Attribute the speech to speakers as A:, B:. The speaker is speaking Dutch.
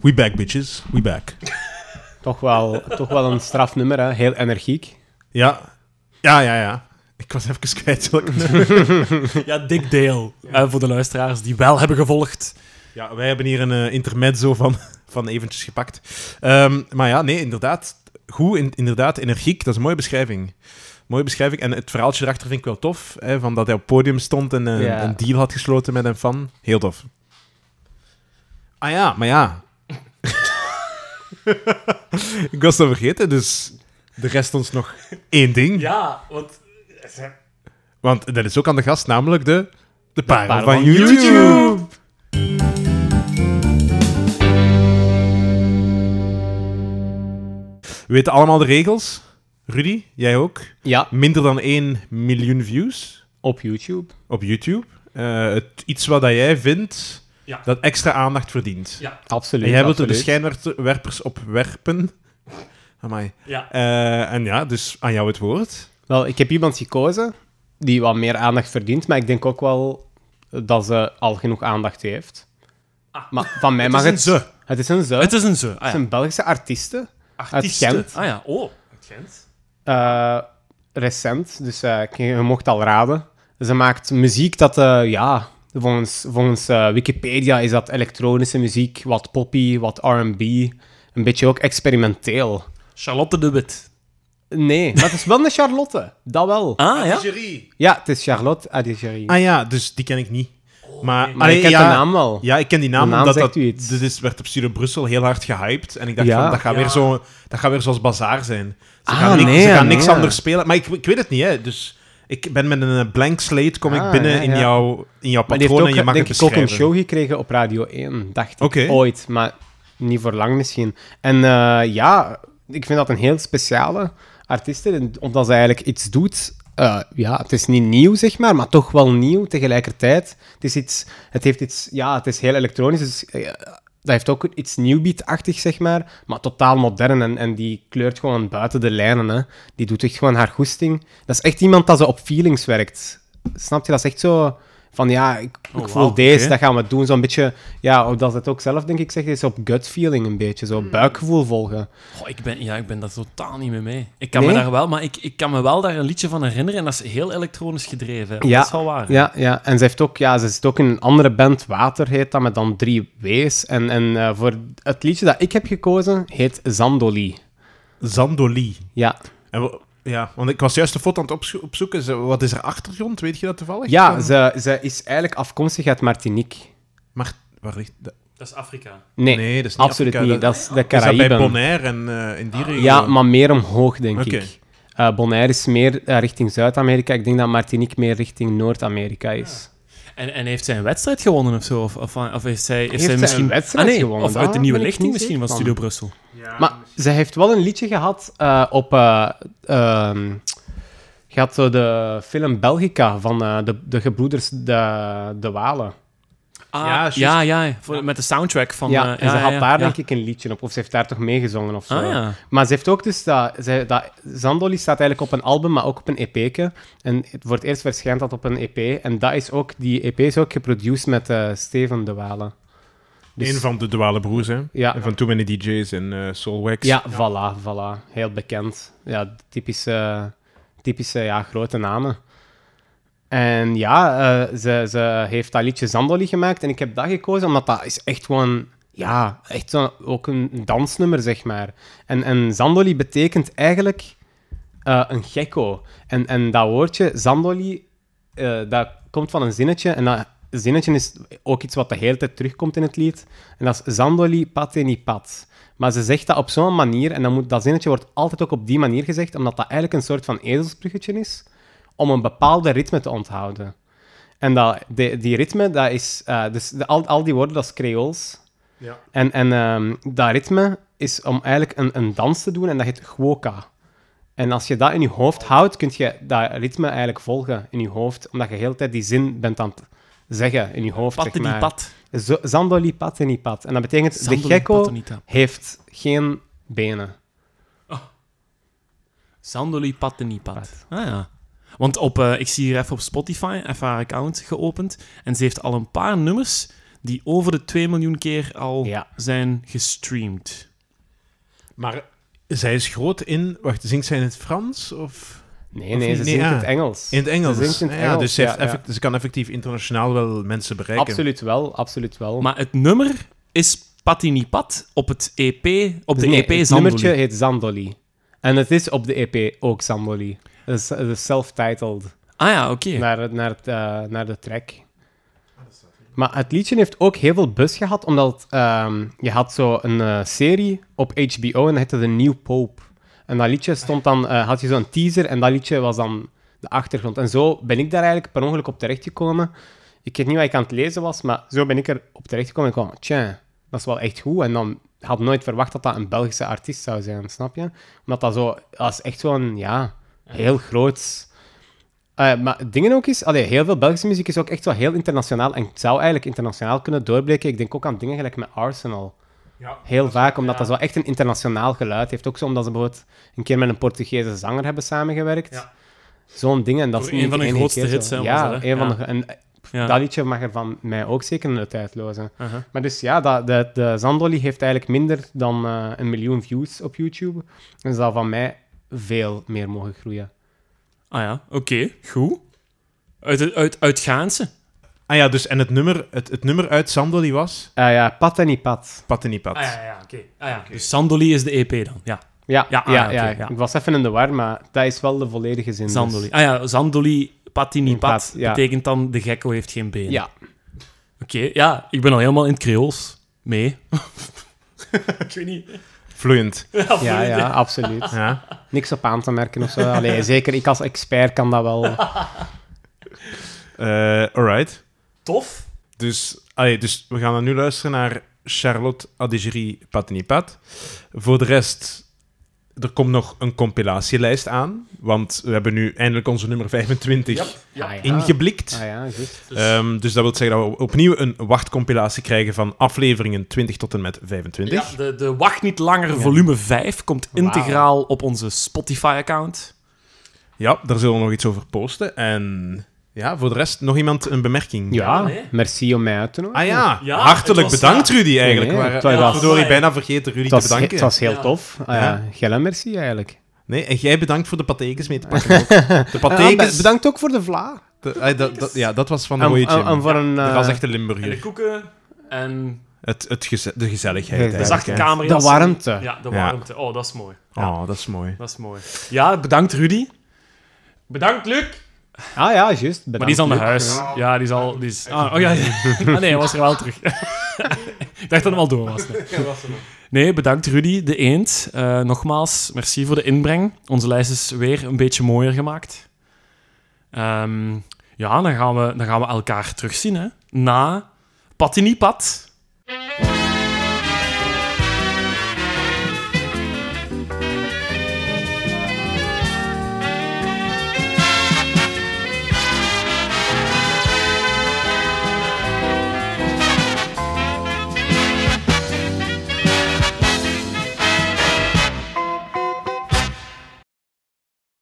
A: We back, bitches. We back.
B: Toch wel, toch wel een straf nummer, hè? heel energiek.
A: Ja. Ja, ja, ja. Ik was even kwijt. welk nummer.
C: Ja, dik deel. Eh, voor de luisteraars die wel hebben gevolgd.
A: Ja, wij hebben hier een eh, intermezzo van, van eventjes gepakt. Ehm, maar ja, nee, inderdaad. Goed, in- inderdaad, energiek. Dat is een mooie beschrijving. Mooie beschrijving. En het verhaaltje erachter vind ik wel tof. Hè, van dat hij op het podium stond en eh,
B: Ja.
A: een deal had gesloten met een fan. Heel tof. Ah ja, maar ja. ik was dat vergeten, dus er rest ons nog één ding.
C: Ja, want... eh,
A: Want dat is ook aan de gast, namelijk de, de parel
B: parel
A: van,
B: van
A: YouTube.
B: YouTube.
A: We weten allemaal de regels. Rudy, jij ook.
B: Ja,
A: Minder dan 1 miljoen views
B: op YouTube.
A: op YouTube. Eh, het, iets wat dat jij vindt
C: Ja.
A: dat extra aandacht verdient.
C: Ja.
B: Absoluut.
A: En jij wilt dus er de
B: absoluut.
A: schijnwerpers op werpen. Amai.
C: Ja.
A: Eh, en ja, dus aan jou het woord.
B: Wel, ik heb iemand gekozen die wat meer aandacht verdient, maar ik denk ook wel dat ze al genoeg aandacht heeft.
C: Ah.
B: Maar van mij
A: Het
B: mag
A: is een
B: het...
A: ze.
B: Het is een ze.
C: Het is een ze. Ah,
B: Het
C: ja.
B: zijn Belgische artiesten.
A: Artiesten.
B: Uit Gent.
C: Ah ja, oh. Het Gent.
B: Eh, recent, dus eh, ik- je mocht al raden. Ze maakt muziek dat, eh, ja, volgens, volgens eh, Wikipedia is dat elektronische muziek, wat poppy, wat R&B, een beetje ook experimenteel.
C: Charlotte de Wit.
B: Nee, maar het is wel een Charlotte, dat wel.
C: Ah ja?
B: Ja, het is Charlotte Adigerie.
A: Ah ja, dus die ken ik niet. maar
B: Maar
A: Allee,
B: ik ken
A: ja,
B: de naam wel.
A: Ja, ik ken die
B: De
A: naam,
B: naam
A: omdat
B: zegt
A: dat,
B: u iets.
A: dit is, werd op Studio Brussel heel hard gehyped. En ik dacht
B: Ja.
A: van, dat gaat,
C: Ja.
A: weer zo, dat gaat weer zoals bazaar zijn. Ze
B: Ah,
A: gaan, niks-
B: nee,
A: ze gaan
B: nee.
A: niks anders spelen. Maar ik, ik weet het niet, hè. Dus ik ben met een eh, blank slate, kom
B: Ah,
A: ik binnen
B: ja,
A: in,
B: ja.
A: jouw, in jouw patroon
B: Maar die heeft ook,
A: en je mag
B: denk
A: het
B: ik, ook een
A: beschrijven.
B: show gekregen op Radio 1, dacht ik.
A: Oké.
B: Ooit, maar niet voor lang misschien. En eh, ja, ik vind dat een heel speciale artiest, en omdat ze eigenlijk iets doet... eh, ja, het is niet nieuw, zeg maar, maar toch wel nieuw tegelijkertijd. Het is iets... Het heeft iets... Ja, het is heel elektronisch, dus... eh, dat heeft ook iets nieuwbeat-achtig, zeg maar, maar totaal modern. En, en die kleurt gewoon buiten de lijnen. Hè. Die doet echt gewoon haar goesting. Dat is echt iemand dat ze op feelings werkt. Snap je? Dat is echt zo van, ja, ik, ik
C: wauw,
B: voel deze,
A: Oh, oké.
B: dat gaan we doen. Zo'n beetje, ja, hoe dat ze het ook zelf, denk ik, zegt, is op gut feeling een beetje. Zo buikgevoel volgen.
C: Oh, ik ben, ja, ik ben daar totaal niet mee mee. Ik kan me
B: Nee?
C: daar wel, maar ik, ik kan me wel daar een liedje van herinneren en dat is heel elektronisch gedreven.
B: Ja.
C: Dat is wel waar.
B: Ja, ja. En ze, heeft ook, ja, ze zit ook in een andere band, Water heet dat, met dan drie W's. En, en eh, voor het liedje dat ik heb gekozen, heet Zandoli.
A: Zandoli.
B: Ja,
A: En we- ja, want ik was juist de foto aan het opzo- opzoeken. Ze- Wat is er achtergrond? Weet je dat toevallig?
B: ja
A: Van-
B: ze, ze is eigenlijk afkomstig uit Martinique.
A: Maar waar ligt dat?
C: Dat is Afrika.
B: Nee,
A: Nee, dat is niet
B: absoluut
A: Afrika,
B: niet. Dat is de
A: Is dat bij
B: Caraïben. Ah,
A: Bonaire en eh, in die regio?
B: Ja, maar meer omhoog, denk
A: Oké.
B: ik. Eh, Bonaire is meer eh, richting Zuid-Amerika. Ik denk dat Martinique meer richting Noord-Amerika is.
C: En, en heeft zij een wedstrijd gewonnen of zo? Of, of, of heeft zij, heeft zij
B: zij
C: misschien
B: een wedstrijd
C: Ah, nee,
B: gewonnen?
C: Of uit de
B: Daar
C: nieuwe
B: ben ik
C: lichting
B: niet
C: misschien van
B: zeker
C: Studio
B: van.
C: Brussel.
B: maar ze heeft wel een liedje gehad eh, op... eh ehm, je had zo de film Belgica van eh, de, de gebroeders De, de Walen.
C: Ah,
A: Ja,
C: ja,
A: juist.
C: ja, voor- met de soundtrack van...
B: ja,
C: eh,
B: en ze had
C: ja,
B: daar
C: ja.
B: denk ik een liedje op. Of ze heeft daar toch meegezongen of zo.
C: Ah, ja.
B: Maar ze heeft ook dus dat, ze, dat... Zandoli staat eigenlijk op een album, maar ook op een EP'ke. En het, voor het eerst verschijnt dat op een EP. En dat is ook, die EP is ook geproduceerd met eh, Steven de Walen. Dus-
A: Een van de duale broers, hè?
B: Ja.
A: En Van Too Many DJs en eh Soulwax.
B: Ja, voilà, voilà. Heel bekend. Ja, typische, typische ja, grote namen. En ja, eh, ze, ze heeft dat liedje Zandoli gemaakt. En ik heb dat gekozen omdat dat is echt gewoon... Ja, echt zo, ook een dansnummer, zeg maar. En, en Zandoli betekent eigenlijk eh, een gekko. En, en dat woordje Zandoli, eh, dat komt van een zinnetje. En dat zinnetje is ook iets wat de hele tijd terugkomt in het lied. En dat is Zandoli pateni pat. Maar ze zegt dat op zo'n manier, en dan moet, dat zinnetje wordt altijd ook op die manier gezegd, omdat dat eigenlijk een soort van ezelsbruggetje is, om een bepaalde ritme te onthouden. En dat, die, die ritme, dat is... eh, dus de- al, al die woorden, dat is Creools.
A: Ja.
B: En, en ehm, dat ritme is om eigenlijk een, een dans te doen, en dat heet gwoka. En als je dat in je hoofd houdt, kun je dat ritme eigenlijk volgen in je hoofd, omdat je de hele tijd die zin bent aan het zeggen in je hoofd.
C: Patte
B: zeg
C: die
B: maar.
C: pat.
B: Zo- Zandoli pateni pat. En dat betekent, de
C: Zandoli
B: gekko
C: patenita.
B: heeft geen benen.
C: Zandoli Patenipat. Ah ja. Want op, eh, ik zie hier even op Spotify, even haar account geopend. En ze heeft al een paar nummers die over de 2 miljoen keer al
B: Ja.
C: zijn gestreamd.
A: Maar zij is groot in... Wacht, zingt zij in het Frans? Of...
B: Nee,
A: Of
B: nee,
A: niet?
B: ze
A: Nee,
B: zingt
A: ah.
B: het Engels.
A: In het Engels.
B: Ze zingt in het
A: ja,
B: Engels,
A: dus ze, heeft
B: ja, ja.
A: effect- ze kan effectief internationaal wel mensen bereiken.
B: Absoluut wel, absoluut wel.
C: Maar het nummer is Patinipat op het EP, op de
B: Dus
C: E
B: Nee,
A: E
C: EP
B: het
C: Zandoli.
B: nummertje heet Zandoli. En het is op de EP ook Zandoli. Het is, het is self-titled
C: Ah ja, oké.
B: naar, het- naar, het, eh, naar de track. Maar het liedje heeft ook heel veel bus gehad, omdat het, ehm, je had zo een eh, serie op HBO en dat heette The New Pope. En dat liedje stond dan, eh, had je zo'n teaser en dat liedje was dan de achtergrond. En zo ben ik daar eigenlijk per ongeluk op terechtgekomen. Ik weet niet wat ik aan het lezen was, maar zo ben ik er op terechtgekomen. En ik kwam, tja, dat is wel echt goed. En dan had nooit verwacht dat dat een Belgische artiest zou zijn, snap je? Omdat dat zo, dat is echt zo'n, ja, heel groot. Eh, maar het ding ook is, allee, heel veel Belgische muziek is ook echt wel heel internationaal. En het zou eigenlijk internationaal kunnen doorbreken. Ik denk ook aan dingen gelijk met Arsenal. heel vaak, omdat dat zo echt een internationaal geluid heeft. Ook zo omdat ze bijvoorbeeld een keer met een Portugese zanger hebben samengewerkt.
C: Ja.
B: Zo'n ding. En dat
C: Voor
B: is niet
C: een van hun
B: de enige
C: grootste
B: keer zo.
C: hits, hè, was
B: Ja,
C: dat, hè?
B: een van
C: Ja.
B: de- en
C: Ja.
B: dat liedje mag er van mij ook zeker een tijdloze.
C: Aha.
B: Maar dus ja, dat, de, de Zandolly heeft eigenlijk minder dan eh, een miljoen views op YouTube. En zal van mij veel meer mogen groeien.
C: Ah ja, oké, goed. Uit, het- uit, uit Gaanse.
A: Ah ja, dus en het nummer, het, het nummer uit Sandoli was
B: Ah ja, pat en niet pat.
A: Patenipat.
C: Ah, ja, oké. Dus Sandoli is de EP dan, ja.
B: Ja,
C: Ja,
B: ja,
C: ah,
B: ja,
C: oké, ja.
B: ik was even in de war, maar dat is wel de volledige zin. dus.
C: Zandoli. Ah ja, Zandoli Patinipat
B: Pat, ja.
C: betekent dan de gekko heeft geen benen.
B: Ja.
C: Oké, ja, ik ben al helemaal in het Creools. Mee. ik weet niet.
A: Vloeiend.
B: ja, ja, absoluut.
A: Ja.
B: Niks op aan te merken of zo. Allee, zeker, ik als expert kan dat wel.
A: Eh, alright.
C: Tof.
A: Dus, allee, dus we gaan dan nu luisteren naar Charlotte Adigerie Patenipat. Voor de rest, er komt nog een compilatielijst aan. Want we hebben nu eindelijk onze nummer 25
B: Ah, ja.
A: ingeblikt.
B: Ah ja, juist.
A: Ehm, dus dat wil zeggen dat we opnieuw een wachtcompilatie krijgen van afleveringen 20 tot en met 25.
C: Ja, de, de Wacht Niet Langer volume 5 komt
B: Wauw.
C: integraal op onze Spotify-account.
A: Ja, daar zullen we nog iets over posten. En ja, voor de rest nog iemand een bemerking.
B: Ja,
C: nee.
B: merci om mij uit te nodigen.
A: Ah ja,
C: Ja,
A: hartelijk
C: het was-
A: bedankt Rudy eigenlijk.
B: Nee,
A: Nee,
B: het
A: nee,
B: was-
A: verdorie, bijna vergeten Rudy
B: het, was,
A: te bedanken.
B: het was heel
C: Ja.
B: tof. Ah, ja. Gele merci eigenlijk.
A: Nee, en jij bedankt voor de patekens mee te pakken. ook. De patekens...
B: Ah, bedankt ook voor de vla.
A: de- ah, dat- dat- ja, dat was van de
B: En,
A: mooie
B: en- en voor een...
A: Dat
B: eh,
A: was echt de Limburger.
C: koeken en
A: Het, het geze- de gezelligheid
B: De
A: eigenlijk.
C: zachte
A: hè.
C: kamer.
B: de warmte.
C: Ja, de
A: Ja.
C: warmte. Oh, dat is mooi.
A: Oh, dat is mooi.
C: Dat is mooi. Ja, bedankt Rudy. Bedankt Luc.
B: Ah ja, juist.
C: Maar die is al naar
B: bedankt,
C: huis.
B: Luc.
C: Ja, die is al... Die is... Ah, oh ja. Ah nee, hij was er wel terug. Ik dacht dat hem al door was. Nee, Nee, bedankt Rudy, de eend. Eh, nogmaals, merci voor de inbreng. Onze lijst is weer een beetje mooier gemaakt. Ehm, ja, dan gaan, we, dan gaan we elkaar terugzien, hè. Na Patinipat.